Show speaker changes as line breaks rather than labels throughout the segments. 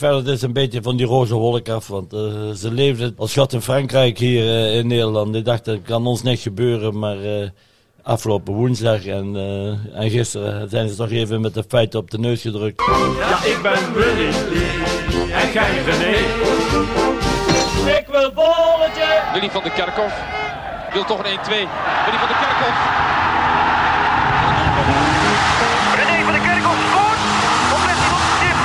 Verder is een beetje van die roze wolk af, want eh, ze leefden als gat in Frankrijk hier eh, in Nederland. Ik dacht, dat kan ons niks gebeuren, maar eh, afgelopen woensdag en, eh, en gisteren zijn ze toch even met de feiten op de neus gedrukt.
Ja, ik ben Willy en jij René. Ik wil bolletje.
Willy van der Kerkhoff wil toch een 1-2. Willy van der Kerkhoff.
René van de Kerkhoff scoort. Op 16 op de tip.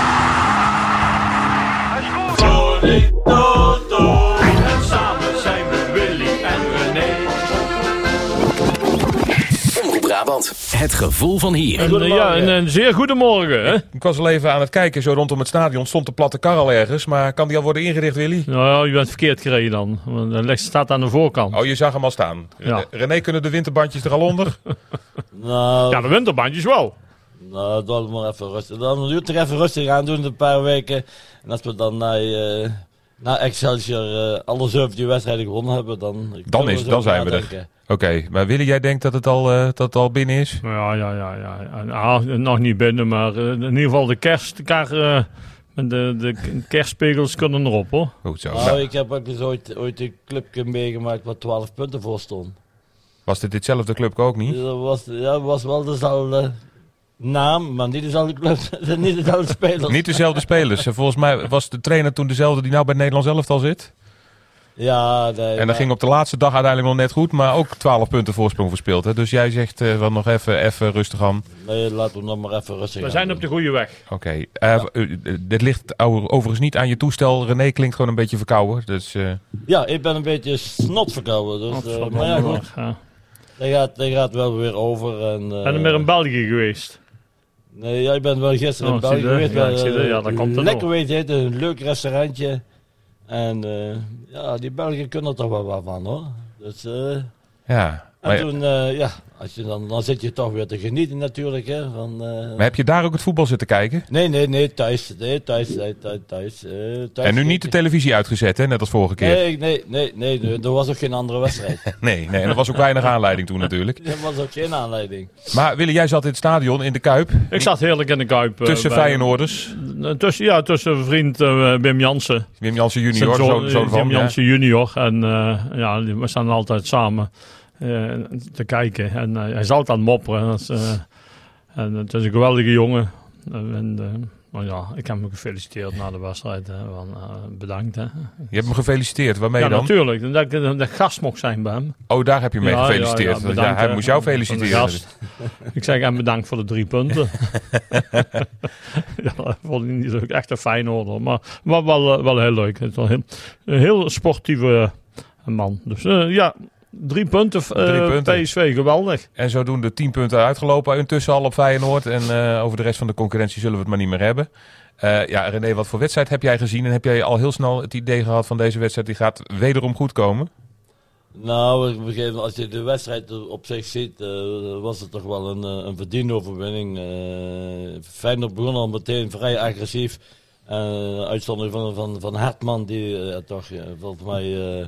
Hij scoort.
Dolly, Toto. En samen zijn we Willy en René.
Omroep Brabant.
Het gevoel van hier.
Ja, een, een zeer goedemorgen. Hè?
Ik was al even aan het kijken, zo rondom het stadion stond de platte kar al ergens, maar kan die al worden ingericht, Willy?
Nou ja, je bent verkeerd gereden dan. Want Hij ligt- staat aan de voorkant.
Oh, je zag hem al staan.
Ja.
René, kunnen de winterbandjes er al onder?
Nou,
Ja, de winterbandjes wel.
nou dan maar even rustig. Dan doe het er even rustig aan doen een paar weken. En als we dan na, eh, na Excelsior eh, alle zeven die wedstrijden gewonnen hebben, dan...
Dan is- dan zijn we er. Oké, maar Willy, jij denkt dat het al, eh, dat het al binnen is?
Nou Ja, ja, ja. ja. En, ah, nog niet binnen, maar eh, in ieder geval de kerstkar... eh, met de, de kerstspegels kunnen erop, hoor.
Goed zo.
Nou,
Nou,
ik heb ook eens ooit, ooit een clubje meegemaakt waar 12 punten voor stond.
was dit ditzelfde club ook niet?
Dus dat was, ja, dat was wel dezelfde naam, maar niet dezelfde club, niet dezelfde spelers.
Niet dezelfde spelers. En Volgens mij was de trainer toen dezelfde die nou bij het Nederlands elftal zit.
Ja, nee,
En
maar-
dat ging op de laatste dag uiteindelijk nog net goed, maar ook 12 punten voorsprong verspeeld. Hè? Dus jij zegt eh, wel nog even, even rustig aan.
Nee, laten we nog maar even rustig
We
aan
zijn
doen.
op de goede weg.
Oké, eh, eh, dit ligt ou- overigens niet aan je toestel. René klinkt gewoon een beetje verkouden, dus... eh,
Ja, ik ben een beetje snot verkouden, dus... eh, maar ja, goed,
Ja.
dat gaat, dat gaat wel weer over en... eh,
Ben je meer in België geweest?
Nee, jij bent wel gisteren
Oh,
in
ik zie
België
het,
geweest.
ja,
bij,
ik zie het,
eh,
ja, dat komt er
Lekker
nog.
weet het, een leuk restaurantje. En eh, ja, die Belgen kunnen er toch wel wat van, hoor. Dus... eh,
Ja,
En
maar,
toen, eh, ja, als je dan, dan zit je toch weer te genieten natuurlijk. Hè, van, eh,
maar heb je daar ook het voetbal zitten kijken?
Nee, nee, nee, thuis. Nee, thuis, nee, thuis, thuis, eh, thuis
En nu niet de televisie uitgezet, hè, net als vorige keer.
Nee, nee, nee, nee, nee, er was ook geen andere wedstrijd.
Nee, nee, en er was ook weinig aanleiding toen natuurlijk.
er was ook geen aanleiding.
Maar Willy, jij zat in het stadion in de Kuip,
Ik zat heerlijk in de Kuip. eh,
tussen
bij-
Feyenoorders.
eh, Tussen, ja, tussen vriend eh, Wim Jansen.
Wim Jansen junior,
Zijn
zoon,
zoon,
zoon van
Tim
ja.
Jansen junior. En eh, ja, die- we staan altijd samen eh, te kijken. En eh, hij is altijd aan het mopperen. Dat is, eh, en het is een geweldige jongen. En, eh, maar ja, ik heb hem gefeliciteerd na de wedstrijd. hè, van, eh, bedankt. Hè.
Je hebt hem gefeliciteerd, waarmee
Ja,
dan?
natuurlijk. Dat ik dat ik gast mocht zijn bij hem.
Oh, daar heb je mee
Ja,
gefeliciteerd.
ja, ja,
Want Ja,
bedankt,
hij
hè,
moest jou
van de
feliciteren.
gast. ik zeg hem bedankt voor de drie punten. ja, dat vond ik niet zo echt een fijn orde. Maar, maar wel, eh, wel heel leuk. Het is wel heel, een heel sportieve eh, man. Dus eh, ja, drie punten, eh,
Drie punten.
PSV. Geweldig.
En zo doen de tien punten uitgelopen eh, intussen al op Feyenoord. En eh, over de rest van de concurrentie zullen we het maar niet meer hebben. Eh, ja, René, wat voor wedstrijd heb jij gezien? En heb jij al heel snel het idee gehad van deze wedstrijd die gaat wederom goed komen?
Nou, op een gegeven moment, als je de wedstrijd op zich ziet, eh, was het toch wel een, eh, een verdiende overwinning. Eh Feyenoord begon al meteen vrij agressief. Eh uitzondering van, van, van Hartman, die eh, toch eh, volgens mij eh,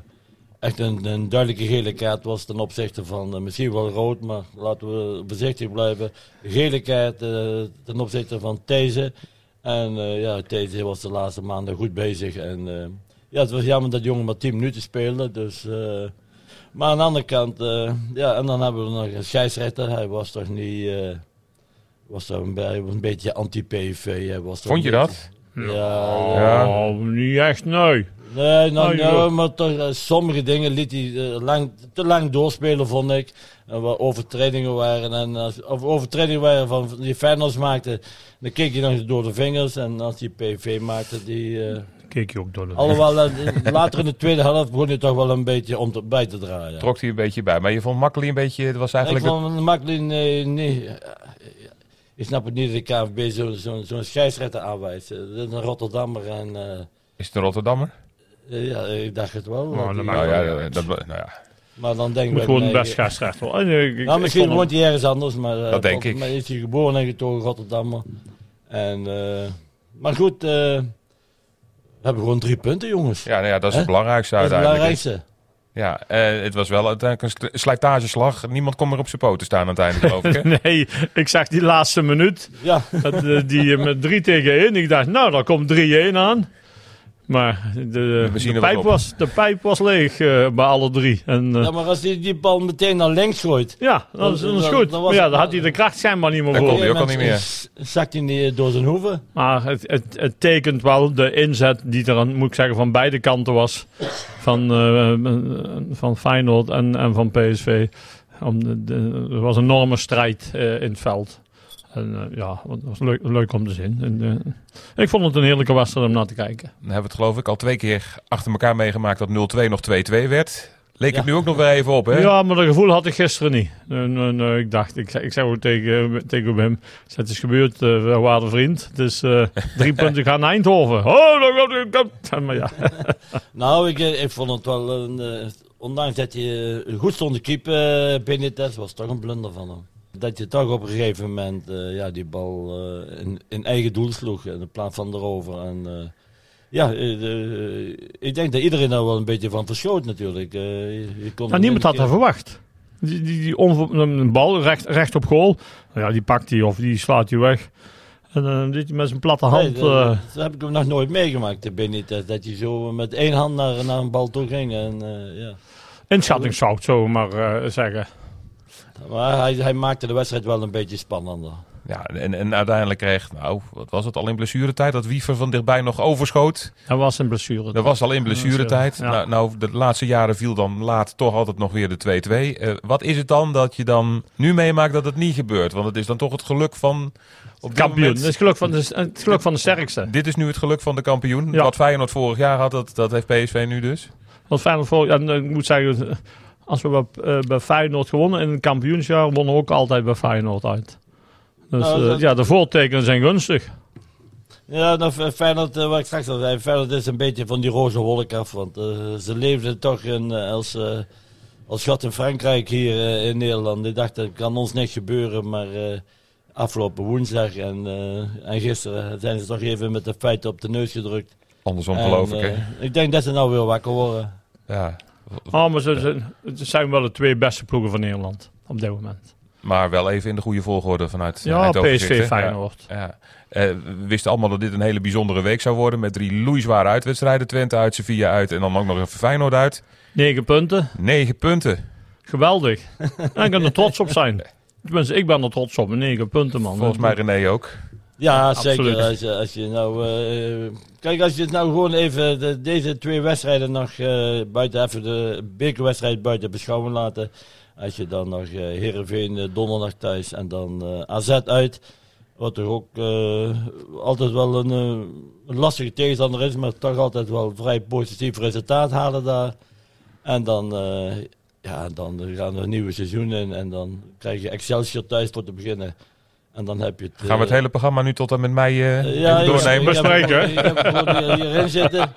echt een, een duidelijke gele kaart was ten opzichte van eh, misschien wel rood, maar laten we voorzichtig blijven. Gele kaart eh, ten opzichte van These. En eh, ja, These was de laatste maanden goed bezig. En eh, ja, het was jammer dat de jongen maar 10 minuten speelde. Dus, eh, maar aan de andere kant, eh, ja, en dan hebben we nog een scheidsrechter. Hij was toch niet. eh, was toch een, be- een beetje anti-PV. Hij was toch
Vond je
een
dat?
beetje- Ja,
Ja.
Oh, niet echt, nee.
Nee, nou,
Nou,
nou,
joh.
maar toch, eh, sommige dingen liet hij eh, lang, te lang doorspelen, vond ik. En waar overtredingen waren, en als, of overtredingen waren van die Feyenoord maakte, dan keek hij nog eens door de vingers. En als die PV maakte, die... eh
Keek je ook door de
alhoewel, eh, later in de tweede helft begon hij toch wel een beetje om te, bij te draaien.
Trok hij een beetje bij. Maar je vond Makkeli een beetje, het was
Ik
eigenlijk... het-
vond Maklin, nee, nee. eh, Ik snap het niet dat de KNVB zo'n zo, zo'n scheidsrechter aanwijst. Eh, Dat is een Rotterdammer en... eh,
Is het een Rotterdammer?
eh, ja, ik dacht het wel.
Nou,
want
dat
die-
maakt
Nou ja,
wel
dat,
uit.
dat- nou ja.
maar dan denk
Je
ik...
moet
bij
gewoon
mij,
best
eh,
scheidsrechter worden. Eh, nee, ik-
Nou,
ik
misschien
vond hem-
woont hij ergens anders, maar eh,
Dat denk
volgens
ik.
mij is hij geboren en getogen Rotterdammer. En, eh, maar goed, eh, we hebben gewoon drie punten, jongens.
ja, nou ja, dat is het
Hè?
belangrijkste
dat is het
uiteindelijk.
belangrijkste.
Ja, eh, het was wel uiteindelijk een sl- slijtageslag. Niemand kon meer op zijn poten staan aan het einde, geloof ik. Hè?
Nee, ik zag die laatste minuut.
Ja,
Dat, eh, die eh, met 3 tegen 1. Ik dacht, nou, daar komt 3-1 aan. Maar de, de,
benzine was
pijp,
op.
was, de pijp was leeg eh, bij alle drie. En, eh,
ja maar als hij die bal meteen naar links gooit.
ja, dat is, dat is goed.
Nou, Dan was
Maar ja,
het-
daar had hij de kracht schijnbaar niet meer
Daar
voor.
kon hij ook al niet meer.
s- Zakt hij niet door zijn hoeven.
Maar het, het, het tekent wel de inzet die er aan, moet ik zeggen, van beide kanten was. Van, eh, eh, van Feyenoord en, en van PSV. Om de, de- er was een enorme strijd eh, in het veld. En eh, ja, het was leuk, leuk om te zien. En, eh, ik vond het een heerlijke wedstrijd om naar te kijken.
Dan hebben we het geloof ik al twee keer achter elkaar meegemaakt dat 0-2 nog 2-2 werd. Leek
Ja.
het nu ook nog weer even op, hè?
Ja, maar dat gevoel had ik gisteren niet. Nee, nee, nee, ik dacht, ik, zei- ik zei ook tegen, eh, tegen hem, ik zei, het is gebeurd, eh waarde vriend. Het is eh, drie punten gaan naar Eindhoven. Oh, dat gaat, dat gaat. Maar ja,
Nou, ik, eh, ik vond het wel een. eh, ondanks dat je eh, goed stond te keeper binnen test, was het toch een blunder van hem. Dat je toch op een gegeven moment eh, ja, die bal eh, in, in eigen doel sloeg in plaats van erover. En, eh, ja, eh, de- eh, ik denk dat iedereen daar wel een beetje van verschoot natuurlijk. Eh, je- je kon
Nou, niemand had dat
er
verwacht. Die, die, die onver- een bal recht, recht op goal. Nou Ja, die pakt hij of die slaat hij weg. En eh, dan dit met zijn platte hand.
Nee, dat,
eh,
dat heb ik nog nooit meegemaakt, de Benitez. Dat je zo met één hand naar, naar een bal toe ging. En, eh, ja.
inschatting zou ik het zo maar eh, zeggen.
Maar hij, hij maakte de wedstrijd wel een beetje spannender.
Ja, en, en uiteindelijk kreeg, nou, wat was het al in blessuretijd? Dat Wiever van dichtbij nog overschoot.
Dat was een blessure.
Dat was al in blessuretijd.
Ja.
Nou, nou, de laatste jaren viel dan laat toch altijd nog weer de 2-2. Eh, wat is het dan dat je dan nu meemaakt dat het niet gebeurt? Want het is dan toch het geluk van... Op dit
Kampioen. Dus-
moment-
Dat is geluk van de, het geluk van de sterkste.
dit is nu het geluk van de kampioen.
Ja.
Wat Feyenoord vorig jaar had, dat, dat heeft PSV nu dus.
Want Feyenoord voor, ja, ik moet zeggen, als we bij, eh, bij Feyenoord gewonnen in het kampioensjaar, wonnen we ook altijd bij Feyenoord uit. Dus
Nou,
eh,
dat-
ja, de voortekenen zijn gunstig.
Ja, nou, Fe- Feyenoord, eh, wat ik straks al zei, Feyenoord is een beetje van die roze wolk af. Want eh, ze leefden toch in, eh, als, eh als gat in Frankrijk hier eh, in Nederland. Die dachten, er kan ons niks gebeuren. Maar eh, afgelopen woensdag en, eh, en gisteren zijn ze toch even met de feiten op de neus gedrukt.
Andersom
En,
geloof ik, hè?
eh, ik denk dat ze nou weer wakker worden.
Ja.
Oh, maar ze, ze, ze zijn wel de twee beste ploegen van Nederland op dit moment.
Maar wel even in de goede volgorde vanuit eh,
Ja,
Eindhoven
PSV
zit, hè?
Feyenoord.
Ja. Ja. Eh, we wisten allemaal dat dit een hele bijzondere week zou worden. Met drie loeizware uitwedstrijden. Twente uit, Sevilla uit en dan ook nog even Feyenoord uit.
Negen punten,
Negen punten.
geweldig. en ik kan er trots op zijn. Tenminste, ik ben er trots op. Negen punten, man.
Volgens mij René ook.
Ja,
absoluut.
zeker. Als je, als je nou, eh, kijk, als je het nou gewoon even de- deze twee wedstrijden nog eh, buiten, even de bekerwedstrijd buiten beschouwen laten. Als je dan nog eh Heerenveen eh, donderdag thuis en dan eh, AZ uit. Wat toch ook eh, altijd wel een, eh, een lastige tegenstander is, maar toch altijd wel vrij positief resultaat halen daar. En dan, eh, ja, dan gaan we een nieuwe seizoen in en dan krijg je Excelsior thuis voor te beginnen. En dan heb je het...
Gaan we het
eh,
hele programma nu tot en met mij eh,
eh,
even doornemen?
ja. Bespreken,
Ik heb gewoon hier- hierin zitten.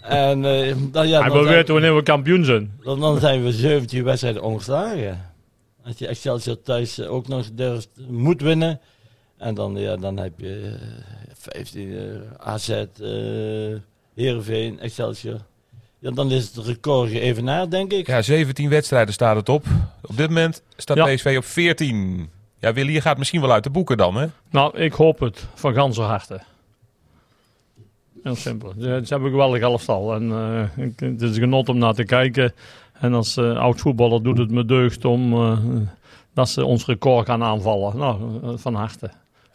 En eh, dan, ja,
Hij
dan, zijn,
beweert wanneer we kampioen zijn.
dan, dan zijn we 17 wedstrijden ongeslagen. Als je Excelsior thuis eh, ook nog durft, moet winnen. En dan, ja, dan heb je eh, 15 eh, AZ, eh Heerenveen, Excelsior. Ja, dan is het record geëvenaard, denk ik.
Ja, 17 wedstrijden staat het op. Op dit moment staat
Ja.
PSV op 14. Ja, Willy, je gaat misschien wel uit de boeken dan, hè?
Nou, ik hoop het. Van ganse harte. Heel simpel. Ze, ze hebben een geweldig elftal. En eh, ik- het is een genot om naar te kijken. En als eh, oud voetballer doet het me deugd om eh, dat ze ons record gaan aanvallen. Nou, eh, van harte.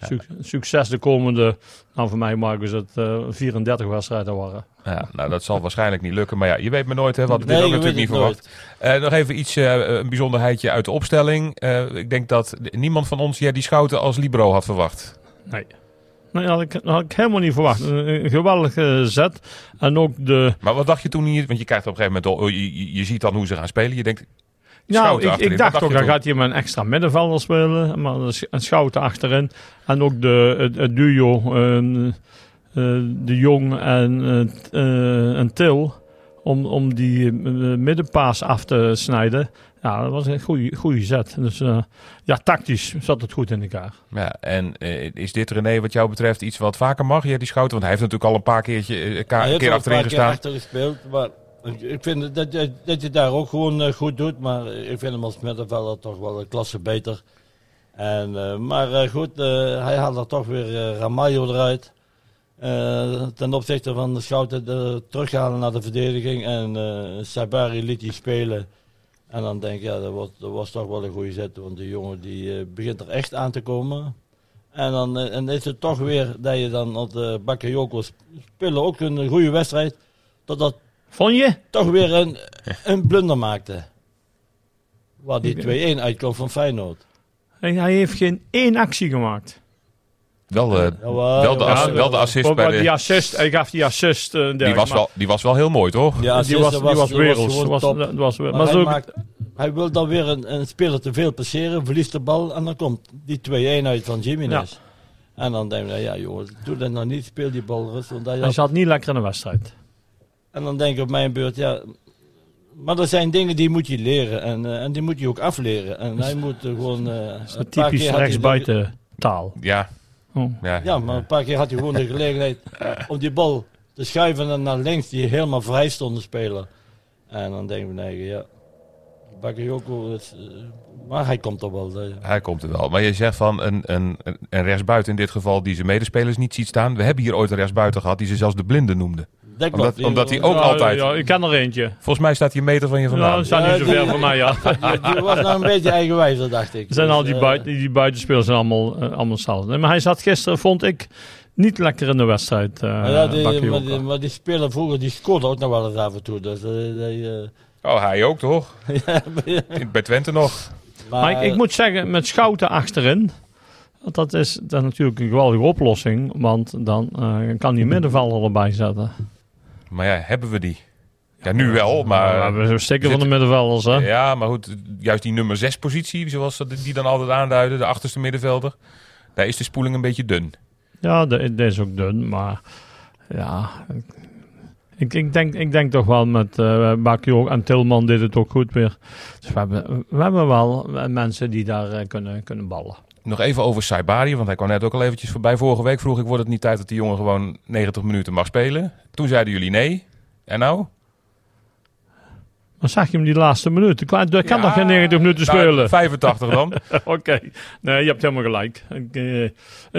Suc- succes de komende, nou voor mij maken ze het eh, 34 wedstrijden waren.
Ja, nou, dat zal waarschijnlijk niet lukken. Maar ja, je weet me nooit, hè? We hadden
Nee,
dit ook
je
natuurlijk
weet
niet
het nooit.
verwacht. Eh, nog even iets, eh, een bijzonderheidje uit de opstelling. Eh, ik denk dat niemand van ons ja, die schouten als libero had verwacht.
Nee. Nee, Nou had ik, had ik helemaal niet verwacht. Een, een geweldige zet. En ook de,
Maar wat dacht je toen hier? Want je krijgt op een gegeven moment al, oh, je, je- je ziet dan hoe ze gaan spelen. Je denkt,
Nou,
Schouten
ik,
achterin.
ik dacht
Wat dacht
ook,
je
dan gaat
toen?
hij met een extra middenvelder spelen. Maar een sch- een schouten achterin. En ook de, het, het duo, ehm, eh, de Jong en, eh, t- eh, en Til. Om, om die eh, middenpaas af te snijden. Ja, dat was een goede, goede zet. Dus eh, ja, tactisch zat het goed in elkaar.
ja, en eh, is dit René wat jou betreft iets wat vaker mag? Ja, die schouten, want hij heeft natuurlijk al een paar keertje, eh, ka-
Hij heeft
keer
wel
achterin
een paar
gestaan.
keer achter gespeeld, maar Ik- Ik vind dat, dat, dat je daar ook gewoon eh, goed doet, maar ik vind hem als middenvelder toch wel een klasse beter. En, eh, maar eh, goed, eh, hij haalt er toch weer eh, Ramalho eruit. Eh, ten opzichte van de Schouten de, terughalen naar de verdediging en eh Sabari liet die spelen. En dan denk ik, ja, dat was, dat was toch wel een goede zet, want die jongen die eh, begint er echt aan te komen. En dan eh, en is het toch weer dat je dan op de Bakayoko sp- spelen ook een goede wedstrijd, totdat
Vond je?
toch weer een, een blunder maakte. Waar die 2-1 uitkomt van Feyenoord.
Hij hij heeft geen één actie gemaakt.
Wel, eh,
Jawel,
wel, de
jawel.
ass- wel de assist bij
Maar die
de...
assist, hij gaf die assist. eh,
Die
Dirk,
was,
maar
wel, die was wel heel mooi, toch?
Ja,
die
assist,
was,
dat
die was
dat
werelds.
gewoon
Dat was,
top.
dat was, maar
Maar
dat is
hij,
ook-
maakt, hij wil dan weer een, een speler te veel passeren, verliest de bal en dan komt die 2-1 uit van Jiménez. En dan denk je, ja joh, doe dat nou niet, speel die bal rustig. want hij
hij
had-
zat niet lekker in de wedstrijd.
En dan denk ik op mijn beurt, ja, maar er zijn dingen die moet je leren en, eh, en die moet je ook afleren. En hij moet eh, gewoon... eh, een paar
Dus Typisch
keer had hij de-
rechtsbuiten taal.
Ja.
Oh.
Ja.
Ja, maar een paar keer had hij gewoon de gelegenheid om die bal te schuiven en naar links, die helemaal vrij stond te spelen. En dan denk ik, nee, ja, Bakayoko, is, eh, maar hij komt toch wel. eh, dat-
Hij komt er wel. Maar je zegt van een, een, een rechtsbuiten in dit geval die zijn medespelers niet ziet staan. We hebben hier ooit een rechtsbuiten gehad die ze zelfs de blinde noemde.
Dat klopt.
Omdat-
Die-
omdat hij ook
Ja,
altijd-
Ja, ik ken er eentje.
Volgens mij staat hij een meter van je vandaan.
Nou, ze zijn
Ja,
niet zo
die-
ver van mij, ja.
Die was nou een beetje eigenwijs, dat dacht ik.
zijn
Dus,
al die,
eh,
buiten, die buitenspelers zijn allemaal, eh, allemaal hetzelfde. Nee, maar hij zat gisteren, vond ik, niet lekker in de wedstrijd. eh
maar ja, die,
Bakayoko.
maar, die, maar die speler vroeger, die scoorde ook nog wel eens af en toe. Dus, eh, die, eh,
Oh, hij ook toch? In- Bij Twente nog.
Maar ik, ik moet zeggen, met Schouten achterin. want Dat is dan natuurlijk een geweldige oplossing. Want dan eh, kan
Mm-hmm.
die middenvelder erbij zetten.
Maar ja, hebben we die? Ja, nu wel,
Ja,
maar...
we stikken
zit-
van de middenvelders, hè?
Ja, maar goed, juist die nummer 6 positie, zoals ze die dan altijd aanduiden, de achterste middenvelder. Daar is de spoeling een beetje dun.
Ja, de- deze is ook dun, maar ja. Ik, ik, denk, ik denk toch wel met eh Bakio en Tilman deed het ook goed weer. Dus we hebben, we hebben wel mensen die daar eh, kunnen, kunnen ballen.
Nog even over Saibari, want hij kwam net ook al eventjes voorbij. Vorige week vroeg ik, wordt het niet tijd dat die jongen gewoon 90 minuten mag spelen? Toen zeiden jullie nee. En nou?
Maar zag je hem die laatste minuut? Ik kan ik kan
Ja,
nog geen 90 minuten
Nou,
spelen.
85 dan.
Oké, nee, je hebt helemaal gelijk. Ik, eh,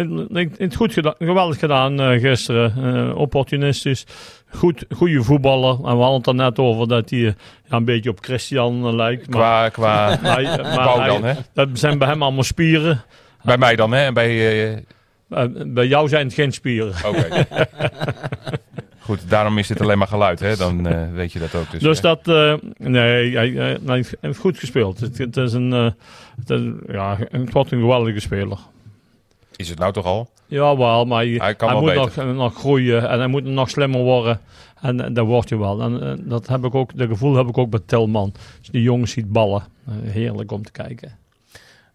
ik- ik- het goed gedaan, geweldig gedaan eh, gisteren. Eh, opportunistisch. Goed, goede voetballer. En we hadden het er net over dat hij eh, ja, een beetje op Christian eh, lijkt. Maar,
Qua, qua
hij, maar
bouw
hij-
dan, hè?
dat zijn bij hem allemaal spieren.
Bij mij dan, hè? En bij... eh,
Eh, bij jou zijn het geen spieren.
Oké. Goed, daarom is dit alleen maar geluid, hè? Dan eh, weet je dat ook. Dus,
Dus
eh,
dat, eh, nee, hij, hij- hij heeft goed gespeeld. Het, het is een, eh, het, is- ja, het wordt een geweldige speler.
is het nou toch al?
Jawel, maar hij,
Hij kan
hij
wel
moet nog,
beter.
nog groeien en hij moet nog slimmer worden. En, eh, dat wordt je wel. En eh, dat heb ik ook, dat gevoel heb ik ook bij Telman. Als je die jongens ziet ballen. eh, heerlijk om te kijken.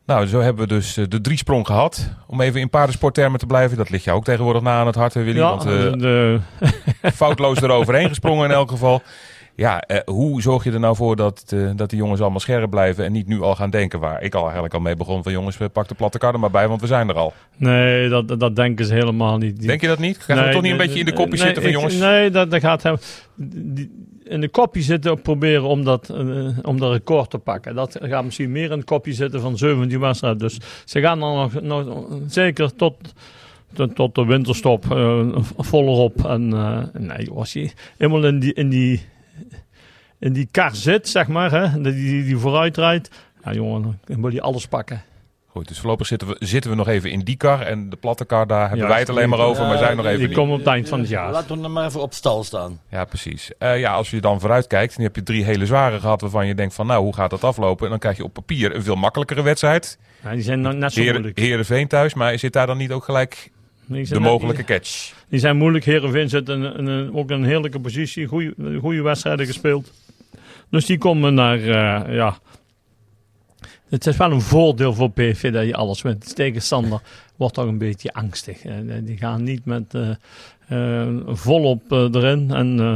Nou, zo hebben we dus eh, de driesprong gehad. Om even in paardensporttermen te blijven. Dat ligt jou ook tegenwoordig na aan het hart, hè, Willy.
ja,
want eh,
en, eh,
foutloos eroverheen gesprongen in elk geval. Ja, eh, hoe zorg je er nou voor dat, eh, dat die jongens allemaal scherp blijven en niet nu al gaan denken waar ik al eigenlijk al mee begon van jongens, eh, pak de platte kar er maar bij, want we zijn er al.
nee, dat, dat denken ze helemaal niet. Die-
Denk je dat niet? Gaan we
Nee,
toch niet een
nee,
beetje in de
nee,
kopjes zitten van
nee, ik-
jongens?
Nee, dat, dat gaat hem. die- in de kopje zitten op proberen om dat, eh, om dat record te pakken. Dat gaat misschien meer in het kopje zitten van 17 wedstrijden. Dus ze gaan dan nog, nog zeker tot, tot, tot de winterstop eh, volop. En eh, nee, als je helemaal in die, in die, in die kar zit, zeg maar, hè, die, die, die vooruit rijdt. Ja, jongen, dan wil je alles pakken.
Goed, dus voorlopig zitten we, zitten we nog even in die kar en de platte kar, daar hebben
Ja, eh,
wij het alleen maar over, maar
ja,
zijn nog
die
even
Die
niet.
komen op het eind van het jaar.
Laten we hem maar even op stal staan.
Ja, precies. Eh, ja, als je dan vooruit kijkt, dan heb je drie hele zware gehad waarvan je denkt van nou, hoe gaat dat aflopen? En dan krijg je op papier een veel makkelijkere wedstrijd.
Ja, die zijn nog net zo
Heren,
moeilijk.
Heerenveen thuis, maar zit daar dan niet ook gelijk
Die
de
zijn net-
mogelijke catch?
Die zijn moeilijk. Heerenveen zit in, in, een- ook in een heerlijke positie. Goede wedstrijden gespeeld. Dus die komen naar, eh, ja... Het is wel een voordeel voor PSV dat je alles wint. De tegenstander wordt toch een beetje angstig. En, eh, die gaan niet met eh, eh, volop eh, erin. En, eh,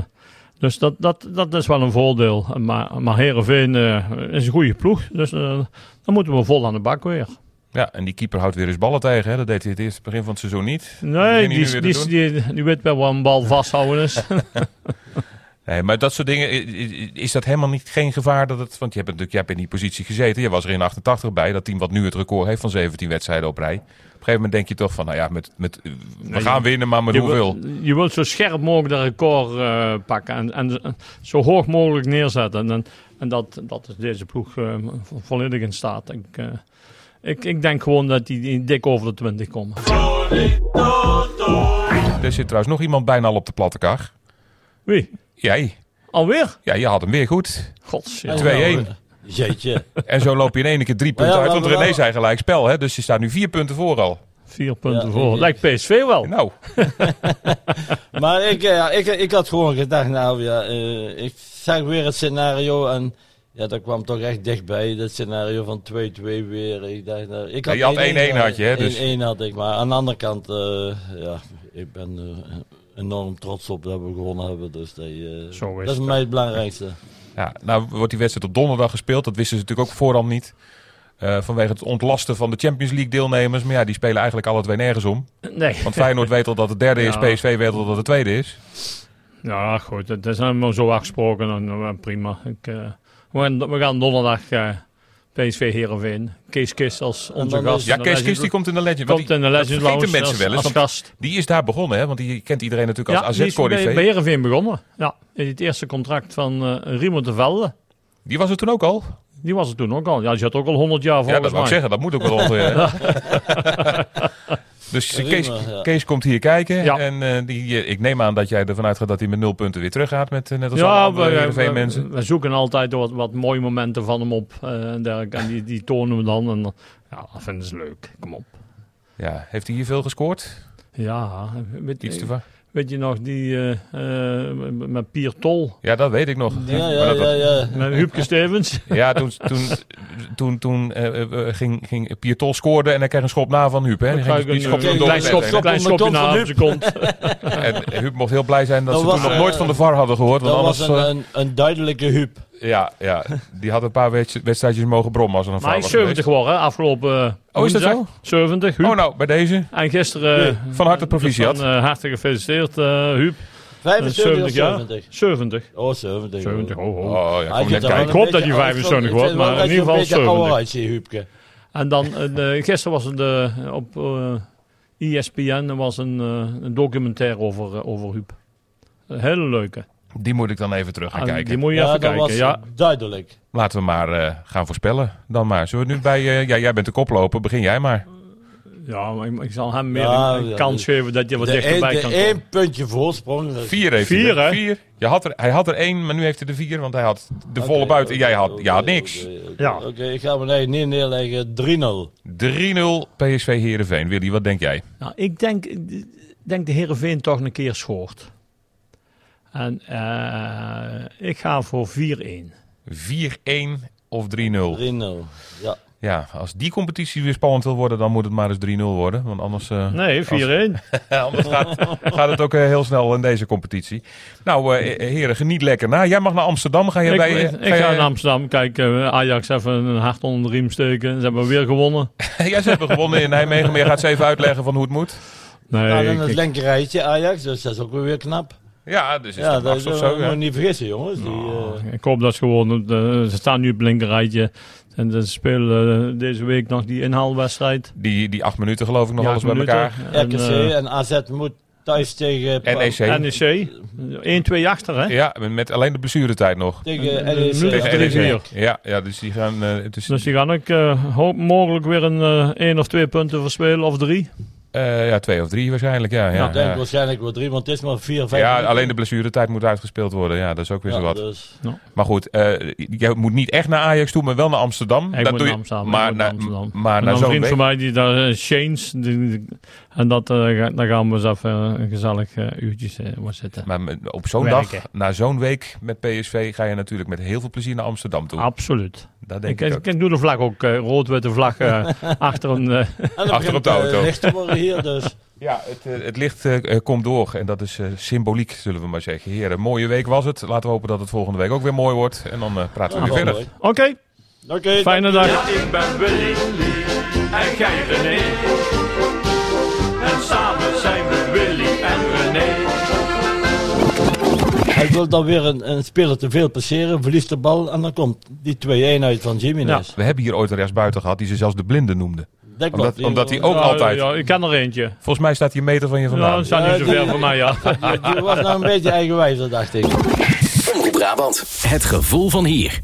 dus dat, dat, dat is wel een voordeel. Maar, maar Heerenveen eh, is een goede ploeg. Dus eh, dan moeten we vol aan de bak weer.
Ja, en die keeper houdt weer eens ballen tegen. Hè? Dat deed hij het eerste begin van het seizoen niet.
Nee,
Begin hij nu
die,
weer
die,
te
die, die, weet wel waar een bal vasthouden is.
doen? Nee, maar dat soort dingen, i- i- is dat helemaal niet, geen gevaar dat het... Want je hebt natuurlijk, jij hebt in die positie gezeten. Je was er in 88 bij, dat team wat nu het record heeft van 17 wedstrijden op rij. Op een gegeven moment denk je toch van, nou ja, met, met, we gaan winnen, maar met
je
hoeveel?
wil- je wilt zo scherp mogelijk dat record eh, pakken en, en, en zo hoog mogelijk neerzetten. En, en, en dat, dat is deze ploeg eh, vo- volledig in staat. Ik, eh, ik, ik denk gewoon dat die, die dik over de 20 komen.
Er zit trouwens nog iemand bijna al op de platte kar.
Wie?
Jij?
Alweer?
Ja, je had hem weer goed.
Gods.
Ja,
Ja.
2-1.
Jeetje.
En zo loop je in één keer drie punten
ja,
uit.
laten
Want
we
René
wel-
zei gelijk spel, hè? Dus je staat nu vier punten voor al.
Vier punten
Ja,
voor.
ik-
Lijkt PSV wel.
Nou,
Maar ik, eh, ja, ik, ik had gewoon gedacht, nou ja, eh, ik zag weer het scenario en ja, dat kwam toch echt dichtbij, dat scenario van 2-2 weer. Ik dacht, nou, ik
Ja, je had 1-1 had je, hè, dus.
1-1 had ik, maar aan de andere kant, eh, ja, ik ben er enorm trots op dat we gewonnen hebben, dus dat, eh,
Zo is
dat
het,
is voor mij het belangrijkste.
ja, nou wordt die wedstrijd op donderdag gespeeld. Dat wisten ze natuurlijk ook voorhand niet. Eh, vanwege het ontlasten van de Champions League deelnemers. Maar ja, die spelen eigenlijk alle twee nergens om.
Nee.
Want Feyenoord weet al dat het derde is.
Ja.
PSV weet al dat het tweede is.
Ja, goed. Dat is helemaal zo afgesproken. En, eh, prima. Ik, eh, we, gaan, we gaan donderdag eh, PSV Heerenveen. Kees Kist als onze
dan is-
gast.
Ja,
En
Kees
dan
Kist die komt in de Legend. Want
komt in de
die- dat
Legends
vergeten
Lounge
mensen
als-
wel eens.
als
want
gast.
die is daar begonnen, hè? Want die kent iedereen natuurlijk als
die is bij, bij
AZ-corrivé.
Heerenveen begonnen. Ja, in het eerste contract van eh Riemer de Velde.
Die was er toen ook al.
Die was er toen ook al. Ja, die zat ook al 100 jaar
Ja,
volgens
dat wou ik
mij.
zeggen. Dat moet ook wel ongeveer. hè? dus
Prima,
Kees,
ja.
Kees komt hier kijken.
Ja.
En eh, die, eh, ik neem aan dat jij ervan uitgaat dat hij met nul punten weer teruggaat. Met, eh, net als alle
Ja,
andere
we,
Heerenveen
we-
eh,
mensen.
we zoeken altijd wat, wat mooie momenten van hem op. eh, en dergelijke. en die, die tonen we dan. En, dan- ja, dat vinden ze leuk. Kom op.
Ja, heeft hij hier veel gescoord?
Ja, weet,
Iets te
eh,
va-
weet je nog die eh, eh, met Pier Tol,
Ja, dat weet ik nog.
Ja,
Maar
ja,
dat-
ja, ja.
met Huubke Stevens?
ja, toen, toen, toen, toen eh, eh, ging, ging Pietol scoorde en hij kreeg een schop na van Huub. Hè? Die, ging, die
Een
schopte hem
eh,
door
klein
het net
schopje,
heen.
schop op
klein
mijn
schopje
kont van
naar
Huub.
zijn kont.
En Huub mocht heel blij zijn dat,
Dat
ze toen
was,
nog nooit
eh,
van de VAR hadden gehoord. Want
Dat
anders,
was een, eh,
eh,
een, een duidelijke huub.
ja, ja, die had een paar wedst- wedstrijdjes mogen brommen als er een
Maar
VAR
hij is
was geweest.
70 geworden, hè, afgelopen eh,
Oh, is dat
woensdag. 70, Huub.
Oh nou, bij deze.
En gisteren... eh,
Van harte proficiat.
Dus dan, eh, hartelijk gefeliciteerd, eh Huub.
75 of
70 jaar.
70?
70.
Oh, 70.
70, ho, ho.
Oh, ja,
eh, Hij
kom net
ziet er wel
kijken.
een
Ik hoop dat
beetje
hij
uit-
75 wordt,
Ik vind wel
maar
dat
in ieder
hij
geval
Een beetje
70.
ouder uitziet, Huubke.
En dan, eh, eh, gisteren was het eh, op eh ESPN er was een, eh, een documentaire over, eh, over Huub. Een hele leuke.
Die moet ik dan even terug
Ah,
gaan
En
kijken.
Die moet je even
dat
kijken.
was
ja.
duidelijk.
Laten we maar eh, gaan voorspellen dan maar. Zullen we nu bij... eh, ja, jij bent de koploper. Begin jij maar.
Ja, maar ik, ik zal hem meer
Ja,
een, een
ja,
kans
dus-
geven dat je wat
de één,
dichterbij
de
kan komen.
één puntje voorsprong. dat-
Vier heeft
Vier,
hij. er.
hè?
Vier. Je had er, hij had er één, maar nu heeft hij er vier. Want hij had de
Oké,
volle buiten.
oké,
jij had,
oké,
ja, niks.
oké, oké.
Ja.
oh, Oké, ik ga mijn eigen neer neerleggen. 3-0.
3-0 PSV Heerenveen. Willy, wat denk jij?
Nou, ik denk, ik denk de Heerenveen toch een keer schoort. En eh, ik ga voor 4-1.
4-1 of 3-0?
3-0. Ja.
Ja, als die competitie weer spannend wil worden, dan moet het maar eens 3-0 worden. Want anders... eh,
Nee, 4-1.
Ja, anders gaat, gaat het ook eh, heel snel in deze competitie. Nou, eh, heren, geniet lekker na. Jij mag naar Amsterdam. Ga je
Ik,
bij...
ik,
eh,
ik
je-
ga naar Amsterdam kijken. eh, Ajax even een hart onder de riem steken. Ze hebben weer gewonnen.
ja, ze hebben gewonnen in Nijmegen. Maar je gaat ze even uitleggen van hoe het moet.
Nou,
Nee,
dan
ik-
het
ik-
linkerrijtje Ajax, dus dat is ook weer knap.
Ja, dus is
Ja, dat
dat Max
is
of
dat
zo.
moet
ja.
je niet vergissen, jongens. Die, eh,
ik hoop dat ze gewoon... eh, ze staan nu op het linkerrijtje. En ze spelen eh, deze week nog die inhaalwedstrijd.
Die, die acht minuten geloof ik nog alles bij elkaar.
En,
RKC
eh,
en AZ moet thuis tegen,
NEC.
NEC. 1-2 achter, hè?
Ja, met alleen de blessuretijd nog. E
tegen E
En, eh,
NEC.
Tegen
Ja.
NEC. vier.
Ja, ja, dus die gaan... eh, het is,
Dus die gaan ook eh, hoop, mogelijk weer een eh, één of twee punten verspelen, of drie.
eh, ja, twee of drie waarschijnlijk. Ja, ja,
Ik denk
ja.
waarschijnlijk wel drie, want het is maar vier, Nou, vijf.
ja, alleen de blessuretijd moet uitgespeeld worden. Ja, dat is ook weer zo
Ja,
wat.
dus-
Maar goed, eh je moet niet echt naar Ajax toe, maar wel naar Amsterdam.
Ja, Ik
dat
moet
doe
naar
je,
Amsterdam. ik
Maar,
moet naar
naar
Amsterdam.
maar
En
naar
een
zo'n
vriend
week-
van mij, die daar eh, Shanes, die- die- en dat, eh, ga- daar gaan we eens even een gezellig eh, uurtjes eh, wat zitten.
Maar met- op zo'n dag,
Werken.
na zo'n week met PSV, ga je natuurlijk met heel veel plezier naar Amsterdam toe.
Absoluut.
dat denk
Ah, Ik,
ik,
ik,
ook.
ik doe de vlag ook, eh, rood-witte vlag eh, achter een... eh,
En dan
Achter op de
begint, eh,
auto.
licht te worden hier, dus.
Ja, het, eh, het licht eh, eh, komt door en dat is eh, symboliek, zullen we maar zeggen. Heren, mooie week was het. Laten we hopen dat het volgende week ook weer mooi wordt. En dan eh, praten we weer verder.
Oké,
Oké, dank
fijne dag.
Ja, ik ben Willy Lee en jij René. En samen zijn we Willy en René.
Hij wil dan weer een, een speler te veel passeren, verliest de bal en dan komt die 2-1 uit van Jiménez.
We hebben hier ooit een rechtsbuiten gehad die ze zelfs de blinde noemde.
Dat klopt.
Omdat,
Die-
omdat hij ook
Ja,
altijd...
Ja, ik ken er eentje.
Volgens mij staat hij een meter van je
Ja,
vandaan.
dat
Ja,
staat niet zo
die-
ver van mij, ja.
die was nou een beetje eigenwijs, dat dacht ik.
Omroep Brabant.
Het gevoel van hier.